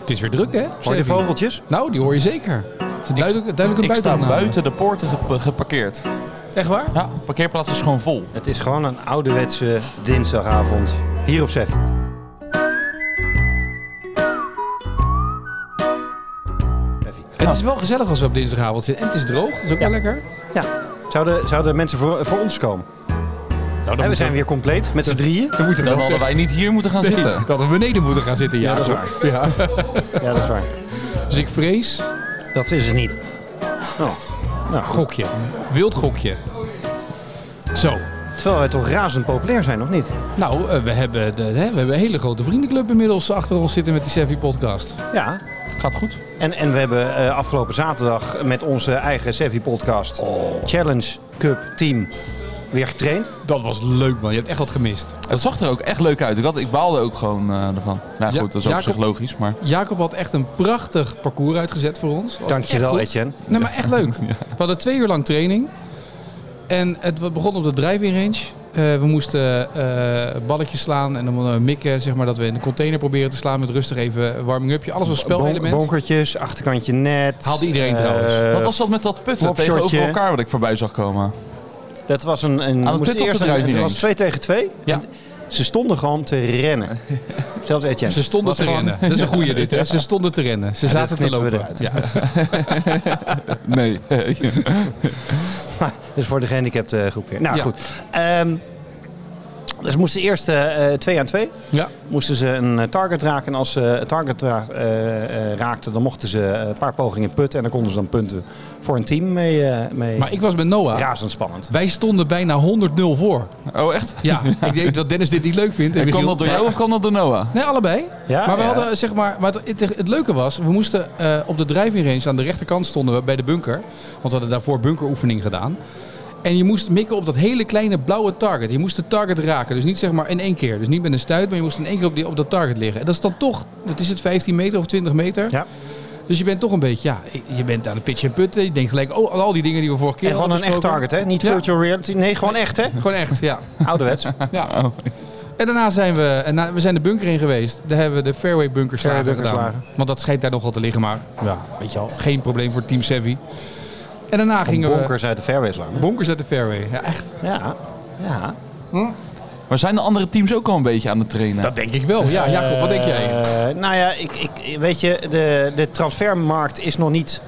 Het is weer druk, hè? Hoor je de Zeker. vogeltjes? Nou, die hoor je zeker. Het is duidelijk, duidelijk een Ik sta buitenopname. buiten de poorten gep- geparkeerd. Echt waar? Ja, de parkeerplaats is gewoon vol. Het is gewoon een ouderwetse dinsdagavond. Hier op Zef. Effie. Het is wel gezellig als we op dinsdagavond zitten. En het is droog, dat is ook wel lekker. Ja. Zouden, zouden mensen voor, voor ons komen? Nou, Hè, we zijn weer compleet, met z'n drieën. Dan moeten we dan wel hadden zeggen wij niet hier moeten gaan zitten. dat we beneden moeten gaan zitten. Ja, Ja, dat is waar. Ja. Ja, dat is waar. Dus ik vrees, Dat is het niet. Nou, nou, goed. gokje. Wild gokje. Zo. Terwijl wij toch razend populair zijn, of niet? Nou, eh, we hebben, de, hè, we hebben een hele grote vriendenclub inmiddels achter ons zitten met die Sevi podcast. Ja. Gaat goed. En, en we hebben eh, afgelopen zaterdag met onze eigen Sevi-podcast Challenge Cup Team weer getraind. Dat Oh. was leuk man, je hebt echt wat gemist. Het zag er ook echt leuk uit. Ik, had, ik baalde ook gewoon eh, ervan. Nou Ja, goed, dat is ook op Jacob- zich logisch. Maar Jacob had echt een prachtig parcours uitgezet voor ons. Was echt Dankjewel, goed. Etienne. Nee, Nou, maar echt leuk. We hadden twee uur lang training. En het begon op de driving range. Eh, we moesten eh, balletjes slaan en dan eh, mikken, zeg maar, dat we in de container proberen te slaan met rustig even een warming-upje. Alles was spelelement. Bon- bonkertjes, achterkantje net. Haalde iedereen trouwens. Eh, wat was dat met dat putten klopshotje. tegenover elkaar wat ik voorbij zag komen? Dat was een... een Aan het moest pit op eerst de een- drijf Het niet was eens. twee tegen twee. Ja. En Ze stonden gewoon te rennen. Zelfs Etienne. Ze stonden Was te gewoon- rennen. Dat is een goeie dit, hè? Ze stonden te rennen. Ze zaten te knippen we lopen. Ja. Nee. Oh, Dus voor de gehandicapte groep weer. Nou Ja. goed. Ehm, dus moesten eerst eh, eh, twee aan twee. ja. Moesten ze een eh, target raken. En als ze het target ra- eh, eh, raakten, dan mochten ze eh, een paar pogingen putten. En dan konden ze dan punten voor een team mee. eh, mee. Maar ik was met Noah. Razendspannend. Wij stonden bijna 100-0 voor. Oh, echt? Ja, ik denk dat Dennis dit niet leuk vindt. En En kan Michiel. dat door jou of kan dat door Noah? Nee, allebei. Ja, maar we ja. hadden zeg maar. Maar het, het- het leuke was, we moesten eh, op de driving range aan de rechterkant stonden we bij de bunker. Want we hadden daarvoor bunkeroefening gedaan. En je moest mikken op dat hele kleine blauwe target. Je moest de target raken. Dus niet zeg maar in één keer. Dus niet met een stuit, maar je moest in één keer op, die, op dat target liggen. En dat is dan toch, wat is het, 15 meter of 20 meter? Ja. Dus je bent toch een beetje, ja, je bent aan de pitch en putten. Je denkt gelijk, oh, al die dingen die we vorige keer En gewoon hadden een echt besproken. target, hè? Niet Ja. virtual reality. Nee, gewoon echt, hè? Gewoon echt, ja. Ouderwets. ja. En daarna zijn we, en na- we zijn de bunker in geweest. Daar hebben we de fairway bunker slagen Fairway bunker gedaan. Want dat schijnt daar nogal te liggen, maar ja, weet je al, geen probleem voor Team Savvy. En daarna gingen we Bonkers uit de fairways lang. bonkers uit de fairway. Ja, echt. Ja. Ja. Maar zijn de andere teams ook al een beetje aan het trainen? Dat denk ik wel. Ja, Jacob, wat denk jij? Eh, nou ja, ik, ik, weet je, de, de transfermarkt is nog niet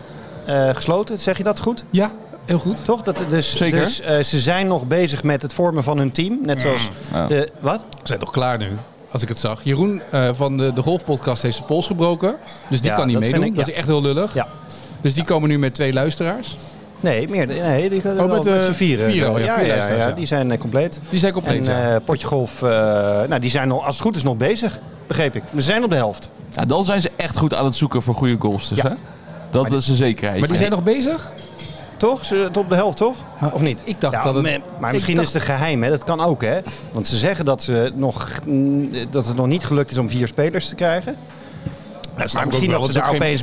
eh, gesloten. Zeg je dat goed? Ja, heel goed. Toch? Dat, dus Zeker. dus eh, ze zijn nog bezig met het vormen van hun team. Net zoals Ja. de... Wat? We zijn toch klaar nu? Als ik het zag. Jeroen eh, van de, de Golfpodcast heeft zijn pols gebroken. Dus die Ja, kan niet dat vind meedoen. ik, Dat ja. is echt heel lullig. Ja. Dus die komen nu met twee luisteraars. Nee, meer. Nee, die gaan Oh, met, wel eh, z'n vieren. vieren, oh ja, ja, vier ja, luisteraars, ja, ja. die zijn eh, compleet. Die zijn compleet. en ja. eh, potje golf, eh, nou, die zijn nog, als het goed is nog bezig, begreep ik. We zijn op de helft. Ja, dan zijn ze echt goed aan het zoeken voor goede goals. Dus, Ja. hè? Dat is een zekerheid. maar die zijn nog bezig? Toch? Ze het op de helft, toch? Of niet? ik dacht Ja, dat het- me- Maar ik misschien dacht- is het een geheim, hè? Dat kan ook, hè? Want ze zeggen dat, ze nog, mm, dat het nog niet gelukt is om vier spelers te krijgen. maar misschien wel, want dat ze het is ook daar geen- opeens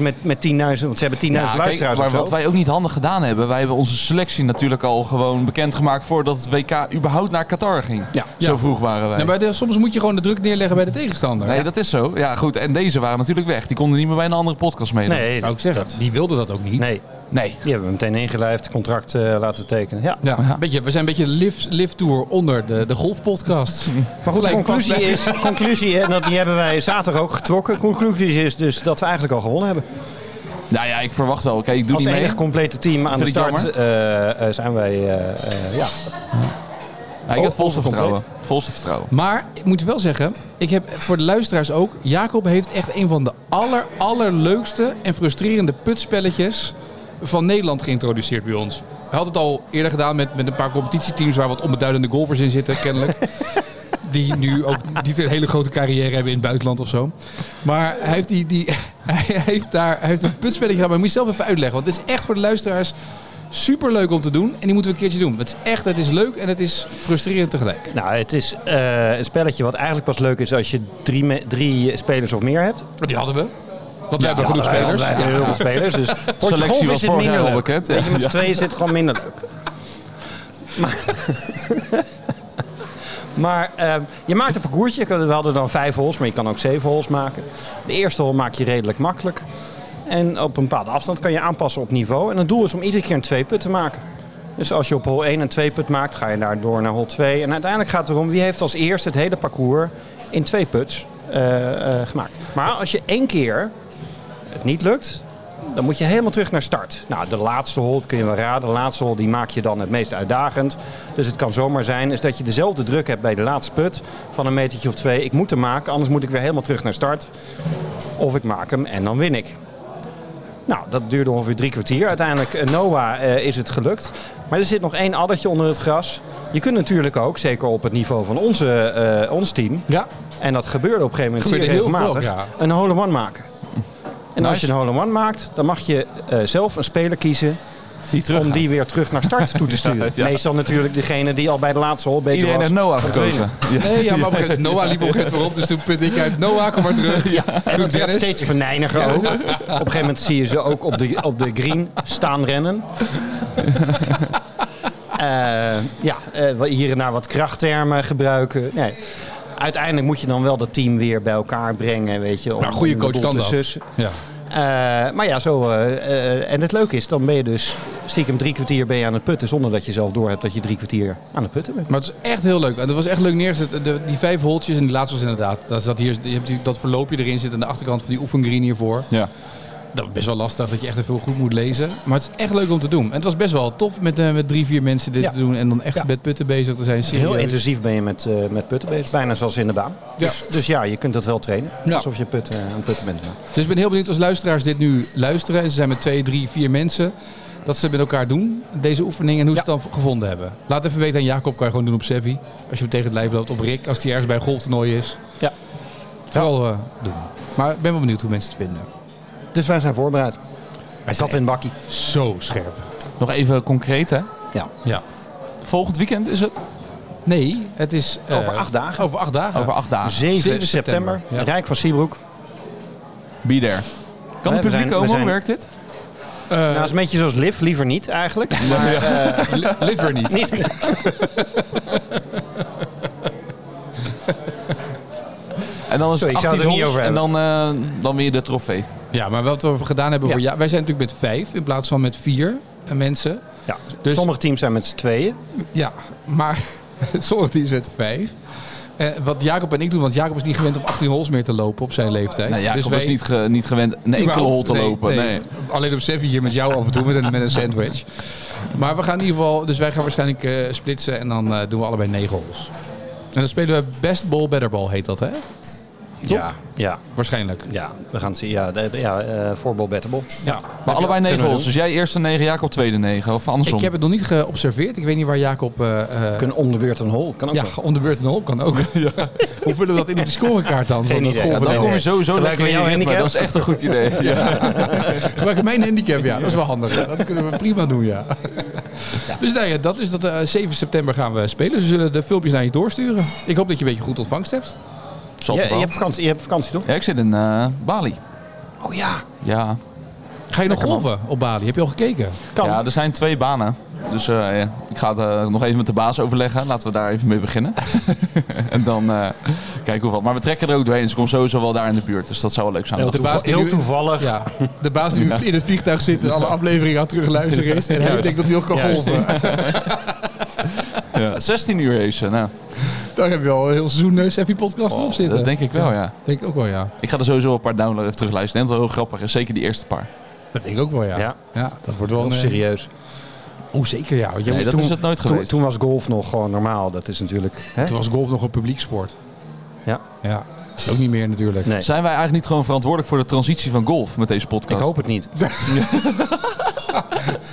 met, met 10.000... Want ze hebben 10.000 Ja, kijk, luisteraars maar of zo. wat wij ook niet handig gedaan hebben, wij hebben onze selectie natuurlijk al gewoon bekendgemaakt voordat het WK überhaupt naar Qatar ging. Ja. Zo Ja. vroeg waren wij. Nee, Nou, maar de- soms moet je gewoon de druk neerleggen bij de tegenstander. Nee, dat is zo. Ja, goed. En deze waren natuurlijk weg. Die konden niet meer bij een andere podcast meedoen. Nee, zou ik zeggen. Die wilde dat ook niet. nee, Nee. die hebben we meteen ingelijfd, contract eh, laten tekenen. Ja. Ja, Ja. een Beetje, we zijn een beetje de lift, lifttour onder de, de golfpodcast. Maar goed, De lijkt vast- conclusie is, conclusie, en dat die hebben wij zaterdag ook getrokken. Conclusie is dus dat we eigenlijk al gewonnen hebben. Nou ja, ik verwacht wel. Kijk, ik doe Als niet mee. enige complete team aan de Vind ik start eh, eh, zijn wij, eh, eh, ja, Ja, Nou, ik heb volste Overcompleet. vertrouwen. Volste vertrouwen. Maar ik moet wel zeggen, ik heb voor de luisteraars ook... Jacob heeft echt een van de aller, allerleukste en frustrerende putspelletjes van Nederland geïntroduceerd bij ons. Hij had het al eerder gedaan met, met een paar competitieteams waar wat onbeduidende golfers in zitten, kennelijk. Die nu ook niet een hele grote carrière hebben in het buitenland of zo. Maar hij heeft, die, die, hij heeft, daar, hij heeft een putspelletje gedaan. Maar ik moet je zelf even uitleggen. Want het is echt voor de luisteraars superleuk om te doen. En die moeten we een keertje doen. Het is echt, het is leuk en het is frustrerend tegelijk. Nou, het is eh, een spelletje wat eigenlijk pas leuk is als je drie, me- drie spelers of meer hebt. Maar Die hadden we. Want we hebben genoeg Wij- spelers. wij hebben Heel veel spelers. Dus potje Selectie golf was is het vorig minder jaar al leuk. bekend, ja. Weet je, met z'n tweeën is het gewoon minder leuk. Maar, Maar eh, je maakt een parcoursje. We hadden dan vijf holes, maar je kan ook zeven holes maken. De eerste hole maak je redelijk makkelijk. En op een bepaalde afstand kan je aanpassen op niveau. En het doel is om iedere keer een twee put te maken. Dus als je op hol 1 een twee put maakt, ga je daar door naar hol 2. En uiteindelijk gaat het erom wie heeft als eerste het hele parcours in twee puts eh, eh, gemaakt. Maar als je één keer het niet lukt, dan moet je helemaal terug naar start. Nou, de laatste hole, dat kun je wel raden, de laatste hole die maak je dan het meest uitdagend. Dus het kan zomaar zijn is dat je dezelfde druk hebt bij de laatste put van een metertje of twee. Ik moet hem maken, anders moet ik weer helemaal terug naar start. Of ik maak hem en dan win ik. Nou, dat duurde ongeveer drie kwartier. Uiteindelijk, eh, Noah, eh, is het gelukt. Maar er zit nog één addertje onder het gras. Je kunt natuurlijk ook, zeker op het niveau van onze, eh, ons team... Ja. en dat gebeurde op een gegeven moment zeer Gebeurde heel veel, regelmatig... ja. een hole-in-one maken. En als Nice. je een hole-in-one maakt, dan mag je eh, zelf een speler kiezen... Die terug om die weer terug naar start toe te sturen. ja. Meestal natuurlijk degene die al bij de laatste hole beter Iedereen was. heeft Noah Van tweede. gekozen. Ja. Nee, ja, maar op een gegeven moment- Noah liep op een gegeven moment weer op, dus toen putte ik uit. Noah, kom maar terug. Ja, En toen dat werd Dennis. steeds verneiniger ook. Op een gegeven moment zie je ze ook op de, op de green staan rennen. Eh, ja, eh, wa- hier en daar wat krachttermen gebruiken. Nee. Uiteindelijk moet je dan wel dat team weer bij elkaar brengen, weet je. Om, Nou, goede om de coach boel kan te dat. sussen. Ja. Eh, maar ja, zo. eh, eh, en het leuke is, dan ben je dus stiekem drie kwartier ben je aan het putten... zonder dat je zelf doorhebt dat je drie kwartier aan het putten bent. Maar het is echt heel leuk. En dat was echt leuk neergezet. De, die vijf holtjes en die laatste was inderdaad. Daar zat hier, je hebt die- dat verloopje erin zit aan de achterkant van die oefengreen hiervoor. Ja. Dat is best wel lastig dat je echt even goed moet lezen. Maar het is echt leuk om te doen. En het was best wel tof met, eh, met drie, vier mensen dit Ja. te doen. En dan echt Ja. met putten bezig te zijn. Serieus. Heel intensief ben je met, eh, met putten bezig, bijna zoals in de baan. Ja. Dus, dus ja, je kunt dat wel trainen. Ja. Alsof je putten, aan het putten bent. Dus ik ben heel benieuwd als luisteraars dit nu luisteren. En ze zijn met twee, drie, vier mensen. Dat ze met elkaar doen, deze oefening. En hoe ze het dan gevonden hebben. Laat even weten aan Jacob, kan je gewoon doen op Sevi. Als je hem tegen het lijf loopt. Op Rick, als hij ergens bij een golftoernooi is. Ja. Vooral eh, doen. Maar ik ben wel benieuwd hoe mensen het vinden. Dus wij zijn voorbereid. Hij zijn zat in bakkie. Zo scherp. Nog even concreet, hè. Ja. Ja. Volgend weekend is het? Nee, het is... eh, Over acht dagen. Over acht dagen. Over acht dagen. 7, Ah, september. september, Ja. Rijk van Siebroek. Be there. Kan Nee, het we publiek zijn- we komen? zijn- Werkt dit? Eh, nou, is een beetje zoals Liv, liever niet eigenlijk. Maar, eh, li- Liver niet. niet. en dan is Sorry, het ik zou 18 het er niet holes over en dan, eh, dan weer de trofee. Ja, maar wat we gedaan hebben Ja. voor ja, wij zijn natuurlijk met vijf in plaats van met vier eh, mensen. Ja. Dus- Sommige teams zijn met z'n tweeën. Ja, maar sommige teams met vijf. Eh, wat Jacob en ik doen, want Jacob is niet gewend om 18 holes meer te lopen op zijn leeftijd. Nou, Jacob Dus wij- is niet, ge- niet gewend een enkele überhaupt- hol te nee, lopen. Nee. Alleen op Sevi hier met jou af en toe met een, met een sandwich. Maar we gaan in ieder geval, dus wij gaan waarschijnlijk eh, splitsen en dan eh, doen we allebei negen holes. En dan spelen we best ball, better ball heet dat hè? Ja. Ja. Waarschijnlijk. Ja. We gaan het zien. Ja, de- ja eh, voorbal, batterbal. Ja. Maar allebei Kunnen we negen holes. doen. Dus jij eerste negen, Jacob tweede negen. Of andersom. Ik heb het nog niet geobserveerd. Ik weet niet waar Jacob... eh, eh, Kunnen om de beurt een hol. Kan ook ja, nog. om de beurt een hol kan ook. Hoe vullen we dat in op die scorekaart dan? Geen Van de idee. golf- Ja, dan nee. kom je sowieso Gelijk lekker in met je jouw ritme. Dat handicap. is echt een goed idee. Ja. Gebruik mijn handicap, ja. Dat is wel handig. Dat kunnen we prima doen, ja. Dus nou ja, dat is dat. eh, 7 september gaan we spelen. Ze zullen de filmpjes naar je doorsturen. Ik hoop dat je een beetje goed ontvangst hebt. Zal Je, toch je, wel. hebt vakantie, je hebt vakantie toch? Ja, ik zit in eh, Bali. Oh ja. Ja. Ga je nog golven op Bali? Heb je al gekeken? Kan. ja, er zijn twee banen. Dus eh, ja, ik ga het eh, nog even met de baas overleggen. Laten we daar even mee beginnen. en dan eh kijken hoeveel. Maar we trekken er ook doorheen. Dus ik kom sowieso wel daar in de buurt. Dus dat zou wel leuk zijn. heel de baas toevallig. die Heel nu- toevallig. Ja. De baas die nu in het vliegtuig zit en alle afleveringen aan het terugluisteren is. En hij Juist. denkt dat hij nog kan Juist. golven. Ja, 16 uur heeft ze. Nou, Dan heb je al een heel seizoen eh, Seffie podcast Oh, op zitten. dat denk ik wel, ja. Denk ik ook wel, ja. Ik ga er sowieso een paar downloaden even terugluisteren. En het is wel heel grappig. is. Zeker die eerste paar. Dat denk ik ook wel, ja. Ja, Ja. dat wordt wel Heel een... eh, serieus. Oh, zeker, ja. Want jij Nee, moest dat toen, is het nooit Toen, geweest. toen was golf nog gewoon normaal. Dat is natuurlijk... Hè? toen was golf nog een publieksport. Ja. Ja. Dat is ook niet meer natuurlijk. Nee. Zijn wij eigenlijk niet gewoon verantwoordelijk voor de transitie van golf met deze Ik podcast? hoop het niet.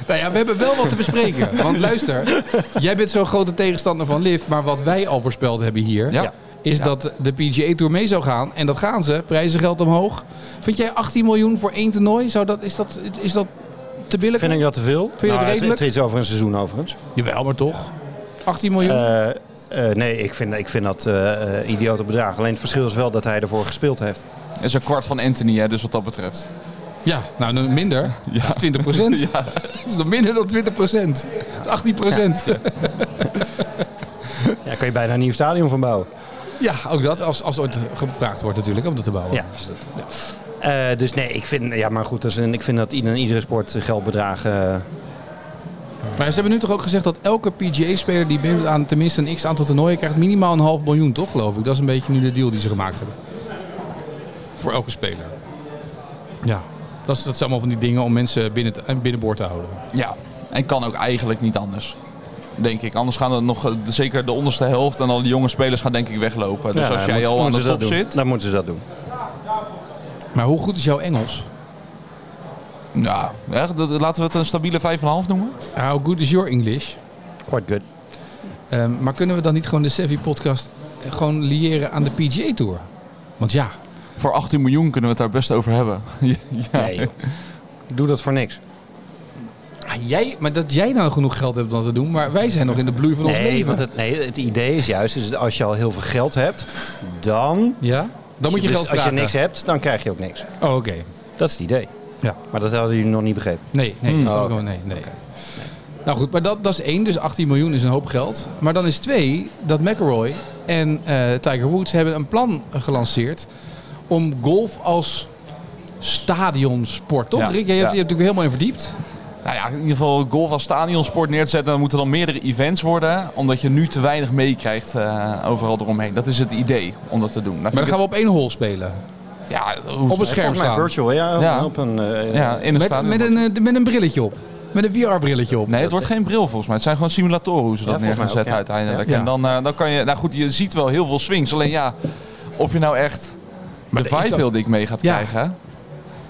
Nou ja, we hebben wel wat te bespreken. Want luister, jij bent zo'n grote tegenstander van Liv. Maar wat wij al voorspeld hebben hier... Ja. Ja. is dat de PGA Tour mee zou gaan. En dat gaan ze. Prijzen geld omhoog. Vind jij 18 miljoen voor één toernooi? Zou dat, is, dat, is dat te billig? Vind ik dat te veel? je het redelijk? Nou, Het is over een seizoen overigens. Jawel, maar toch. 18 miljoen? Eh, eh, nee, ik vind, ik vind dat eh eh, idiote bedrag. Alleen het verschil is wel dat hij ervoor gespeeld heeft. Het is een kwart van Anthony, hè, dus wat dat betreft. ja, nou dan minder. Dat is 20 procent. Dat is nog minder dan 20 procent. Dat is 18 procent. Ja, kan je bijna een nieuw stadion van bouwen. Ja, ook dat. Als, als ooit gevraagd wordt natuurlijk om dat te bouwen. Ja, is dat. Eh, dus nee, ik vind, ja, maar goed, dat is een, ik vind dat ieder, iedere sport geldbedragen. eh, Maar ze hebben nu toch ook gezegd dat elke PGA-speler die meedoet aan tenminste een x-aantal toernooien krijgt minimaal een half miljoen, toch geloof ik? Dat is een beetje nu de deal die ze gemaakt hebben. Voor elke speler. Ja, dat, is, dat zijn allemaal van die dingen om mensen binnen, te- eh, binnenboord te houden. Ja, en kan ook eigenlijk niet anders. Denk ik. Anders gaan er nog eh, de- zeker de onderste helft en al die jonge spelers gaan denk ik weglopen. Dus ja, als eh, dan jij moeten- al aan moeten de ze dat top doen. zit. Dan moeten ze dat doen. Maar hoe goed is jouw Engels? Ja, hè, dat- laten we het een stabiele 5,5 noemen. Ah, How good is your English? Quite good. Ehm, maar kunnen we dan niet gewoon de Sevi podcast eh, gewoon liëren aan de PGA Tour? Want ja, Voor 18 miljoen kunnen we het daar best over hebben. ja, Nee, joh. Doe dat voor niks. ah, jij, maar dat jij nou genoeg geld hebt om dat te doen, maar wij zijn nog in de bloei van ons Nee, leven. want het, nee, het idee is juist, is dat als je al heel veel geld hebt, dan... Ja? Dan moet je, dus geld Als je vragen. niks hebt, dan krijg je ook niks. Oh, oké. Dat is het idee. Ja. Maar dat hadden jullie nog niet begrepen. Nee, nee, Hmm. dat snap Oh, ik wel. nee, nee. Nou goed, maar dat, dat is één. Dus 18 miljoen is een hoop geld. Maar dan is twee dat McElroy en eh, Tiger Woods hebben een plan gelanceerd om golf als stadionsport, toch Ja, Rick? Jij hebt, ja. je hebt natuurlijk helemaal in verdiept. Nou ja, in ieder geval golf als stadionsport neer te zetten. Dan moeten dan meerdere events worden. Omdat je nu te weinig meekrijgt eh, overal eromheen. Dat is het idee om dat te doen. Nou, Maar dan gaan we op één hol spelen. we ja, dat hoeft- Op een scherm Volgens mij staan. virtual, ja. Ja. Op een, eh, Ja, in het Met, stadion. met, een, eh, met een brilletje op. Met een VR-brilletje op. Nee, het wordt geen bril volgens mij. Het zijn gewoon simulatoren hoe ze dat Ja, neer volgens gaan mij ook, zetten ja. uiteindelijk. Ja. En dan, eh, dan kan je... Nou goed, je ziet wel heel veel swings. Alleen ja, of je nou echt de dat is vibe toch- wil die ik mee gaat Ja. krijgen...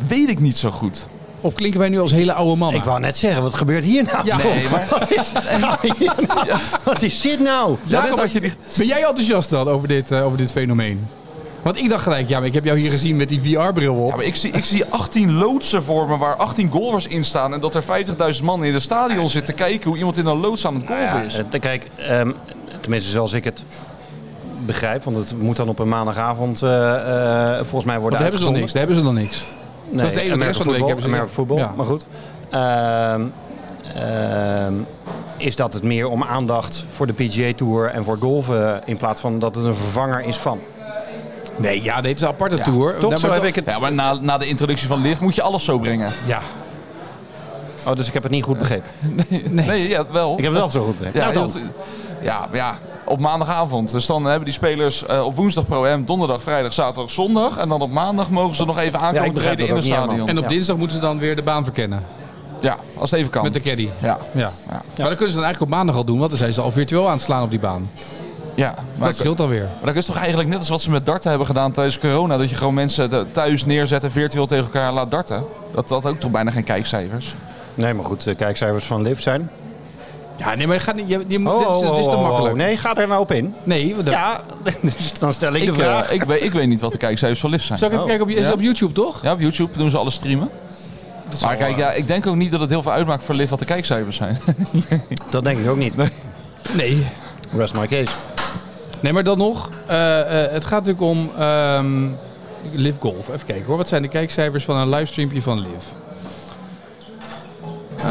Weet ik niet zo goed. Of klinken wij nu als hele oude mannen? Ik wou net zeggen, wat gebeurt hier nou? Ja. Nee, maar Wat is, hier nou? wat is dit nou? Jacob, dit had je niet- ben jij enthousiast dan over dit, eh, over dit fenomeen? Want ik dacht gelijk, ja, maar ik heb jou hier gezien met die VR-bril op. Ja, maar ik zie, ik zie 18 loodsen voor me waar 18 golfers in staan. En dat er 50.000 man in het stadion zitten kijken hoe iemand in een loods aan het golven is. Ja, eh, kijk, ehm, tenminste zoals ik het begrijp, want het moet dan op een maandagavond eh, eh, volgens mij worden Want daar hebben ze dan niks. Daar hebben ze dan niks. Nee, Dat is de enige American rest van de week voetbal, hebben ze- American voetbal, ja. maar goed. Ehm, ehm, is dat het meer om aandacht voor de PGA Tour en voor golven in plaats van dat het een vervanger is van? Nee, ja, dit is een aparte tour. Toch? Nou, Zo maar heb dat- ik het. Ja, maar na, na de introductie van Liv moet je alles zo brengen. Ja. Oh, dus ik heb het niet goed begrepen. Nee, ja, wel. Ik heb het wel zo goed begrepen. ja, Nou, heel- ja, maar ja, op maandagavond. Dus dan hebben die spelers eh, op woensdag pro-am, donderdag, vrijdag, zaterdag, zondag. En dan op maandag mogen ze nog even Ja, aankomen ik begrijp treden in dat het ook niet stadion. En op Ja. dinsdag moeten ze dan weer de baan verkennen. Ja, als het even kan. Met de caddy. Ja, Ja. Maar dat kunnen ze dan eigenlijk op maandag al doen, want dan zijn ze al virtueel aan het slaan op die baan. ja. Maar, dat scheelt alweer. maar dat is toch eigenlijk net als wat ze met darten hebben gedaan tijdens corona. Dat je gewoon mensen th- thuis neerzet en virtueel tegen elkaar laat darten. Dat had ook toch bijna geen kijkcijfers. Nee, maar goed, de kijkcijfers van Liv zijn. Ja, nee, maar dat gaat niet, je, je moet- dit, is, dit is te oh, oh, makkelijk. nee, Nee, ga er nou op in. want dat- Ja, dus dan stel ik, Ik, de vraag. eh, ik, weet, ik weet niet wat de kijkcijfers van Liv zijn. Zal ik even Oh. kijken, op, is Ja. het op YouTube toch? Ja, op YouTube doen ze alles streamen. Maar kijk, ja, ik denk ook niet dat het heel veel uitmaakt voor Liv wat de kijkcijfers zijn. Dat denk ik ook niet. Nee. Rest my case. Nee, maar dan nog. eh, eh, het gaat natuurlijk om ehm Live Golf. Even kijken hoor. Wat zijn de kijkcijfers van een livestreampje van Live? Eh,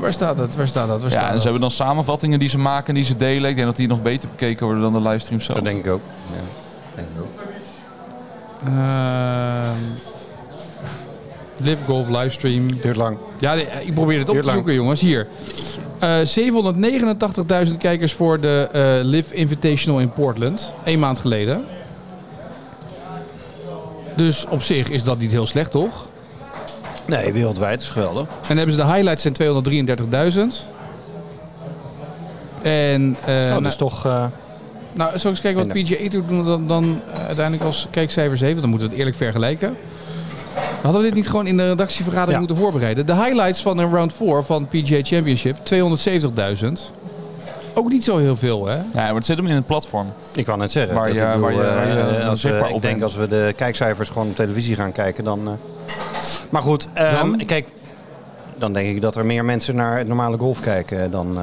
waar staat dat? Waar staat dat? Waar staat Ja, en dat? ze hebben dan samenvattingen die ze maken en die ze delen. Ik denk dat die nog beter bekeken worden dan de livestream zelf. Dat denk ik ook. Ehm, Live Golf livestream. Duurt lang. Ja, nee, ik probeer het op Duurt te lang. zoeken, jongens. Hier. Eh 789.000 kijkers voor de eh, Live Invitational in Portland. Eén maand geleden. Dus op zich is dat niet heel slecht, toch? Nee, wereldwijd is geweldig. En dan hebben ze de highlights zijn 233.000. En eh, Oh, dat nou, is toch... eh, nou, zal ik eens kijken wat PGA Tour doen dan, dan eh, uiteindelijk als kijkcijfers heeft? Want dan moeten we het eerlijk vergelijken. Hadden we dit niet gewoon in de redactievergadering Ja. moeten voorbereiden? De highlights van een round 4 van PGA Championship, 270.000. Ook niet zo heel veel, hè? Ja, maar het zit hem in het platform. Ik kan net zeggen. Waar dat je- ik bedoel, waar je- eh, waar je als we- zichtbaar ik op denk bent. als we de kijkcijfers gewoon op televisie gaan kijken, dan... eh. Maar goed, ehm, Dan? kijk, dan denk ik dat er meer mensen naar het normale golf kijken dan... eh,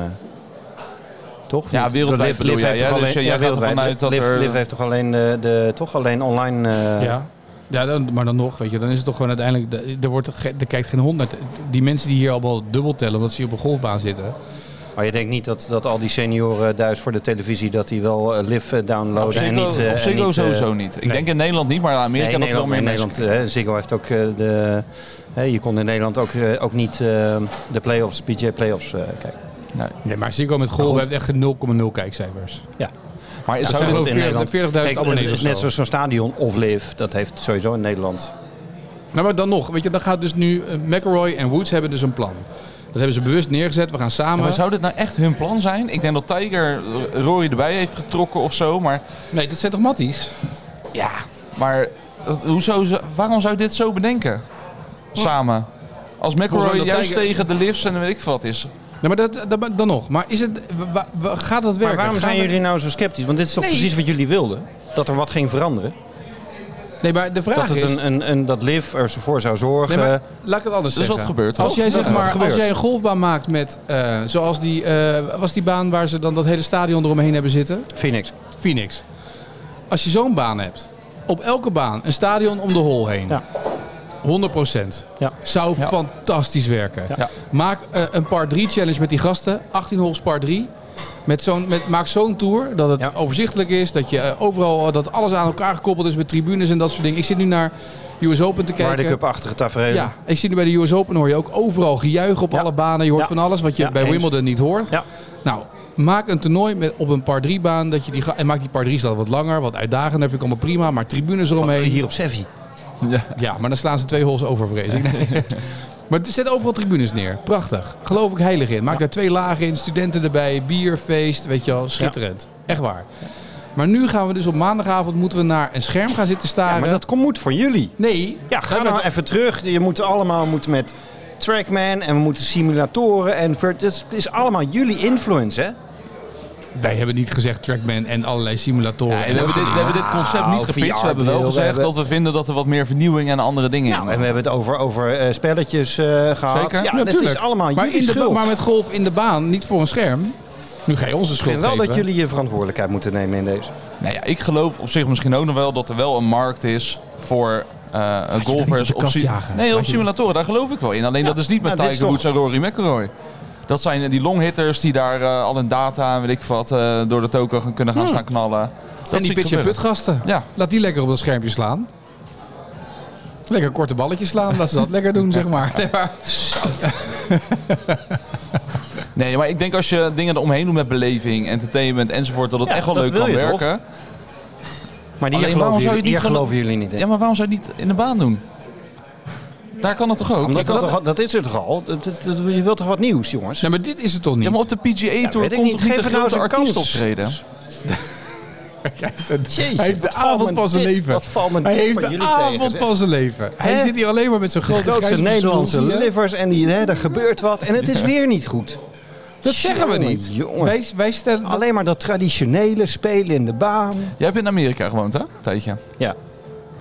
toch? Ja, Niet? wereldwijd Liv- bedoel Liv jij, heeft hè? toch Dus alleen- jij ja, gaat ervan wereldwijd. uit dat Liv- er- Liv heeft toch alleen, de, de, toch alleen online... eh, ja. Ja, dan, maar dan nog, weet je, dan is het toch gewoon uiteindelijk, de- er, wordt, ge- er kijkt geen honderd. Die mensen die hier allemaal dubbel tellen, omdat ze hier op een golfbaan zitten, Maar je denkt niet dat, dat al die senioren thuis voor de televisie... dat die wel eh, live eh, Op downloaden en Ziggo, niet... eh, op en Ziggo niet, eh, sowieso niet. Ik nee. denk in Nederland niet, maar in Amerika nee, dat wel meer in mensen. Nederland, eh, Ziggo heeft ook eh, de... hè, je kon in Nederland ook, eh, ook niet eh, de play-offs, PJ play-offs eh, kijken. Nee, maar Ziggo met Goal heeft echt 0,0 kijkcijfers. Maar Ja, zou zijn dat- geloof ik in 40 Nederland- 40.000 Kijk, abonnees eh, of zo. Net zoals zo'n stadion of live, dat heeft sowieso in Nederland. Nou, maar dan nog. Weet je, dan gaat dus nu... eh, McElroy en Woods hebben dus een plan. Dat hebben ze bewust neergezet. We gaan Ja, samen... maar zou dit nou echt hun plan zijn? Ik denk dat Tiger eh, Rory erbij heeft getrokken of zo, maar... Nee, dat zijn toch matties? Ja, maar dat- hoezo, ze- waarom zou je dit zo bedenken? Samen. Als Volgens McElroy mij dat juist Tiger- tegen de lifts en weet ik veel wat is. Nee, maar dat, dat- dan nog. Maar is het, wa- wa- wa- gaat dat werken? Maar waarom Gaan zijn we- jullie nou zo sceptisch? Want dit is toch Nee. precies wat jullie wilden? Dat er wat ging veranderen? Nee, maar de vraag dat, het is... een, een, een, dat Liv ervoor zou zorgen. Nee, maar laat ik het anders Dus zeggen. wat gebeurt er? Als jij, Ja, zeg wat maar, als gebeurt? jij een golfbaan maakt met, eh, zoals die, eh, was die baan waar ze dan dat hele stadion eromheen hebben zitten, Phoenix. Phoenix. Als je zo'n baan hebt, op elke baan een stadion om de hol heen, Ja. 100 procent, Ja. zou Ja. fantastisch werken. Ja. Maak eh, een par 3 challenge met die gasten, 18 holes par 3. Met zo'n, met, maak zo'n tour dat het Ja. overzichtelijk is, dat je eh, overal eh, dat alles aan elkaar gekoppeld is met tribunes en dat soort dingen. Ik zit nu naar US Open te kijken. Waar de cup-achtige tafereel. eh, Ja, ik zie nu bij de US Open hoor je ook overal gejuich op Ja. alle banen. Je hoort Ja. van alles wat je Ja, bij eens. Wimbledon niet hoort. Ja. Nou, maak een toernooi met, op een par 3 baan. Dat je die, ga- en maak die par 3 wat langer, wat uitdagender. Vind ik allemaal prima. Maar tribunes eromheen. Hier op Sevi. Ja. Ja, maar dan slaan ze twee holes over, vrees ik. Nee. maar zet overal tribunes neer. Prachtig. Geloof ik heilig in. Maak daar twee lagen in. Studenten erbij. Bier, feest. Weet je wel, schitterend. Echt waar. Maar nu gaan we dus op maandagavond moeten we naar een scherm gaan zitten staren. maar dat komt moet voor jullie. Nee. Ja, Daar ga werd- nou even terug. Je moet allemaal moet met Trackman en we moeten simulatoren. En ver- het is, het is allemaal jullie influence, hè? Wij hebben niet gezegd Trackman en allerlei simulatoren. en we, hebben dit, we hebben dit concept niet gepitcht. We hebben wel VR gezegd hebben- dat we vinden dat er wat meer vernieuwing en andere dingen in. en we hebben het over, over eh, spelletjes eh, gehad. Ja, Zeker. Ja, dat is tuurlijk. allemaal maar, jullie in de, ba- schuld. maar met golf in de baan, niet voor een scherm. Nu ga je onze Ik schuld vind wel geven. dat jullie je verantwoordelijkheid moeten nemen in deze. Nou ja, ik geloof op zich misschien ook nog wel dat er wel een markt is voor eh niet op golfers de kast si- jagen. Nee, op Laat je- simulatoren, daar geloof ik wel in. Alleen dat is niet met nou, dit is Tiger Woods en Rory McIlroy. Dat zijn eh, die longhitters die daar eh, al hun data en weet ik wat eh, door de toko gaan kunnen gaan Hmm. staan knallen. Dat en die pitch- en putgasten. Ja. Laat die lekker op dat schermpje slaan. Lekker korte balletjes slaan, laat ze dat lekker doen, zeg maar. Nee, maar- Nee, maar ik denk als je dingen eromheen doet met beleving, entertainment enzovoort, dat het Ja, echt wel dat leuk wil kan je toch? werken. Maar die Alleen, waarom geloven, zou je jullie, niet hier gelo- geloven jullie niet in. Ja, maar waarom zou je het niet in de baan doen? Daar kan het toch ook? Je Omdat kan dat, het- toch al- dat is het toch al? Dat, dat- dat- je wilt toch wat nieuws, jongens? Nee, maar dit is het toch niet? Ja, maar op de PGA Tour weet ik komt niet. toch niet de Geef het nou grote eens een artiest kans. optreden? Jezus, Hij heeft de wat valt avond me van zijn dit- leven. Wat valt me Hij dit heeft van de jullie tegen, avond zeg. van zijn leven. Hij Hè? zit hier alleen maar met zo'n grote De grootste grijze Nederlandse verzoensie, hè? livers en die, hè, er gebeurt wat en het is weer niet goed. Dat zeggen we Jongen, niet. jongen. Ah, Wij, wij stellen... Alleen maar dat traditionele spelen in de baan. Jij hebt in Amerika gewoond, hè? Tijdje. Ja,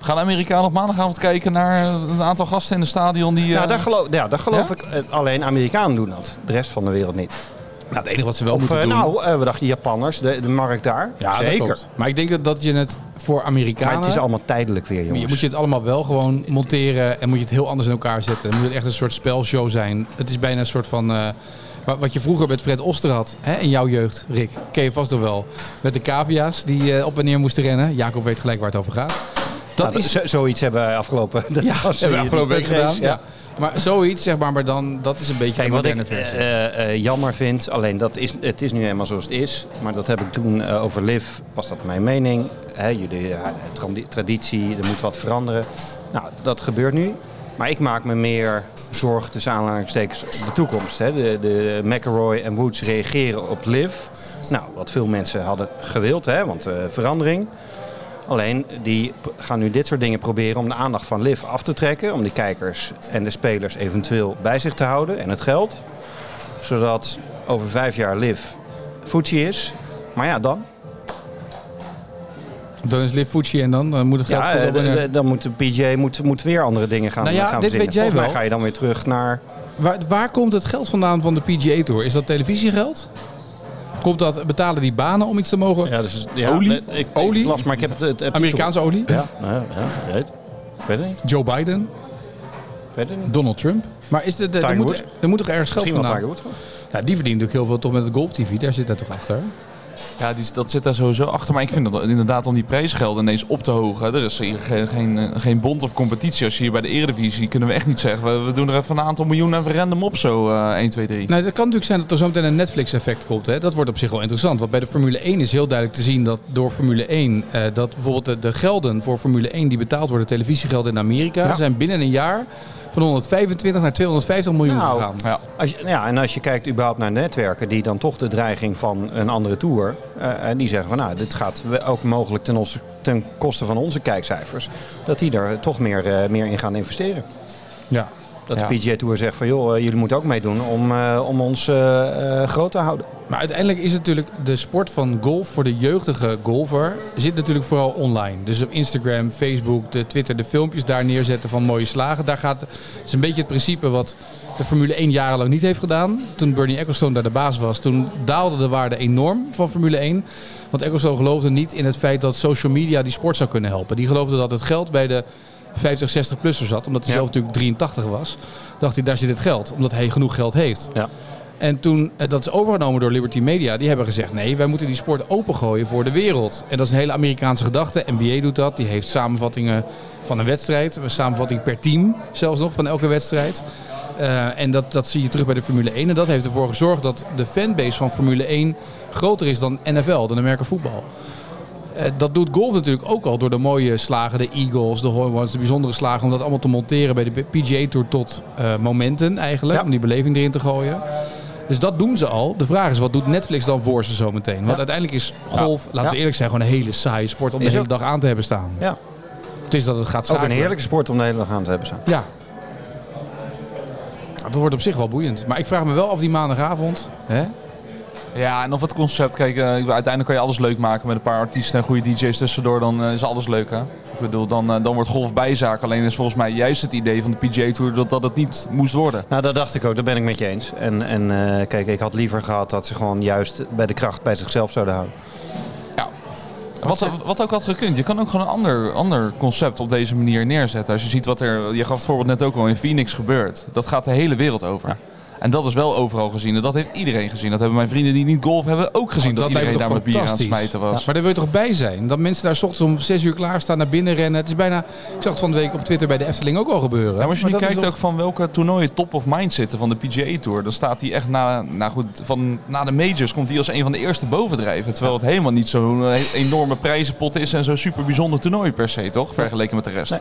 Gaan de Amerikanen op maandagavond kijken naar een aantal gasten in het stadion die... nou, eh, daar geloof, ja, daar geloof Ja? ik. eh, Alleen Amerikanen doen dat. De rest van de wereld niet. Nou, het enige wat ze wel Of, moeten eh, doen... nou, eh, we dachten Japanners, de, de markt daar. ja, dat Zeker. klopt. Maar ik denk dat, dat je het voor Maar Amerikanen... het is allemaal tijdelijk weer, jongens. Je moet je het allemaal wel gewoon monteren en moet je het heel anders in elkaar zetten. Dan moet het echt een soort spelshow zijn. Het is bijna een soort van. eh, wa- wat je vroeger met Fred Oster had, hè, in jouw jeugd, Rick, ken je vast nog wel. Met de cavia's die eh, op en neer moesten rennen. Jacob weet gelijk waar het over gaat. Dat Nou, is. zo- zoiets hebben wij afgelopen. dat Ja, dat was hebben we die- afgelopen week die race, gedaan. Ja. Maar zoiets, zeg maar, maar dan, dat is een beetje Kijk, de wat ik moderne versie. eh, eh, eh, jammer vind, alleen dat is, het is nu eenmaal zoals het is. Maar dat heb ik toen eh, over Liv, was dat mijn mening. Hè, jullie ja, tradi- traditie, er moet wat veranderen. Nou, dat gebeurt nu. Maar ik maak me meer zorgen tussen aanhalingstekens op de toekomst. Hè. De, de McElroy en Woods reageren op Liv. Nou, wat veel mensen hadden gewild, hè, want eh, verandering. Alleen die p- gaan nu dit soort dingen proberen om de aandacht van Liv af te trekken. Om de kijkers en de spelers eventueel bij zich te houden en het geld. Zodat over vijf jaar Liv Fuji is. Maar ja, dan. Dan is Liv Fucci en dan, dan moet het geld Ja, goed eh, op en neer. de- de- dan moet de PJ moet, moet weer andere dingen gaan, Nou ja, dit gaan verzinnen. weet jij Volgens mij wel. ga je dan weer terug naar... Waar, waar komt het geld vandaan van de PGA Tour? Is dat televisiegeld? Komt dat, betalen die banen om iets te mogen? Ja, dus, Olie? Ik, ik Olie? las, maar ik heb het... het, het Amerikaanse olie? Ja, nou ja, ja, weet- weet het niet. Joe Biden? Weet het niet. Donald Trump. Maar is de, de, Tiger er, moet, Woods. er moet toch ergens geld Misschien wel vandaan? Tiger Woods. Nou, die verdient natuurlijk heel veel toch met het Golf TV. Daar zit hij toch achter? Ja, die, dat zit daar sowieso achter. Maar ik vind dat inderdaad om die prijsgelden ineens op te hogen. Er is hier geen, geen, eh, geen bond of competitie. Als je hier bij de Eredivisie kunnen we echt niet zeggen. We, we doen er even een aantal miljoen even random op zo. eh 1, 2, 3. Nou, het kan natuurlijk zijn dat er zometeen een Netflix-effect komt. Hè? Dat wordt op zich wel interessant. Want bij de Formule 1 is heel duidelijk te zien dat door Formule 1... eh, dat bijvoorbeeld de, de gelden voor Formule 1 die betaald worden, televisiegelden in Amerika... Ja. zijn binnen een jaar van 125 naar 250 miljoen Nou. gegaan. Ja. Als je, nou ja, en als je kijkt überhaupt naar netwerken die dan toch de dreiging van een andere tour. eh, en die zeggen van nou, dit gaat we- ook mogelijk ten, onze, ten koste van onze kijkcijfers. Dat die er toch meer, eh, meer in gaan investeren. Ja. Dat Ja. de PGA Tour zegt van joh, eh, jullie moeten ook meedoen om, eh, om ons eh, eh, groot te houden. Maar uiteindelijk is het natuurlijk de sport van golf voor de jeugdige golfer zit natuurlijk vooral online. Dus op Instagram, Facebook, de Twitter, de filmpjes daar neerzetten van mooie slagen. Daar gaat het is een beetje het principe wat de Formule 1 jarenlang niet heeft gedaan. Toen Bernie Ecclestone daar de baas was, toen daalde de waarde enorm van Formule 1. Want Ecclestone geloofde niet in het feit dat social media die sport zou kunnen helpen. Die geloofde dat het geld bij de 50, 60-plusser zat, omdat hij Ja. zelf natuurlijk 83 was. Dacht hij, daar zit het geld, omdat hij genoeg geld heeft. En toen, eh, dat is overgenomen door Liberty Media, die hebben gezegd... nee, wij moeten die sport opengooien voor de wereld. En dat is een hele Amerikaanse gedachte. NBA doet dat, die heeft samenvattingen van een wedstrijd. Een samenvatting per team zelfs nog, van elke wedstrijd. Eh, en dat, dat zie je terug bij de Formule 1. En dat heeft ervoor gezorgd dat de fanbase van Formule 1 groter is dan NFL, dan Amerika voetbal. Eh, dat doet golf natuurlijk ook al door de mooie slagen, de Eagles, de Hornets, de bijzondere slagen. Om dat allemaal te monteren bij de PGA Tour tot eh, momenten eigenlijk. Ja. Om die beleving erin te gooien. Dus dat doen ze al. De vraag is, wat doet Netflix dan voor ze zometeen? Want Ja. uiteindelijk is golf, laten Ja. we eerlijk zijn, gewoon een hele saaie sport om de Is hele ook. dag aan te hebben staan. Ja. Het is dat het gaat Ook schakelen. een heerlijke sport om de hele dag aan te hebben staan. Ja. Nou, Dat wordt op zich wel boeiend. Maar ik vraag me wel af die maandagavond. Hè? Ja, en of het concept, kijk, eh, ik bedoel, uiteindelijk kan je alles leuk maken met een paar artiesten en goede DJ's tussendoor, dan eh, is alles leuk, hè? Ik bedoel, dan, eh, dan wordt golf bijzaak. Alleen is volgens mij juist het idee van de PGA Tour dat dat het niet moest worden. Nou, dat dacht ik ook. Dat ben ik met je eens. En, en eh, kijk, ik had liever gehad dat ze gewoon juist bij de kracht bij zichzelf zouden houden. Wat, wat ook had gekund. Je kan ook gewoon een ander, ander concept op deze manier neerzetten. Als je ziet wat er, je gaf het voorbeeld net ook al in Phoenix gebeurt. Dat gaat de hele wereld over. En dat is wel overal gezien. En dat heeft iedereen gezien. Dat hebben mijn vrienden die niet golf hebben ook gezien. lijkt dat, me iedereen toch daar met bier aan het fantastisch. smijten was. Ja, maar daar wil je toch bij zijn? Dat mensen daar 's ochtends om 6 uur klaarstaan, naar binnen rennen. Het is bijna, ik zag het van de week op Twitter bij de Efteling ook al gebeuren. Ja, maar als je Maar nu dat kijkt is ook van welke toernooien top of mind zitten van de PGA Tour, dan staat hij echt na, nou goed, van, na de majors komt hij als een van de eerste bovendrijven. Terwijl het helemaal niet zo'n eh, enorme prijzenpot is en zo'n super bijzonder toernooi per se, toch? Vergeleken met de rest. Nee.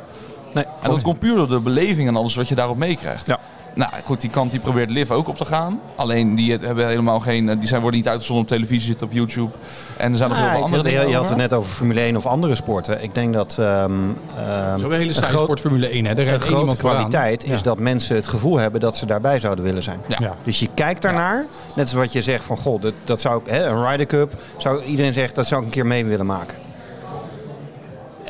Nee. En dat komt puur door de beleving en alles wat je daarop meekrijgt. Ja. Nou goed, die kant die probeert Liv ook op te gaan. Alleen die hebben helemaal geen, eh, die zijn, worden niet uitgezonden op televisie, zitten op YouTube. En er zijn nog Ah, heel veel ik- andere dingen. je, je had over. het net over Formule 1 of andere sporten. Ik denk dat ehm, ehm, Zo'n hele saaie groot- sport Formule 1. Hè? Daar de rijdt één grote iemand vooraan. kwaliteit is Ja. dat mensen het gevoel hebben dat ze daarbij zouden willen zijn. Ja. Ja. Dus je kijkt daarnaar, net als wat je zegt van goh, dat, dat zou ik, hè, een Ryder Cup, zou, iedereen zegt dat zou ik een keer mee willen maken.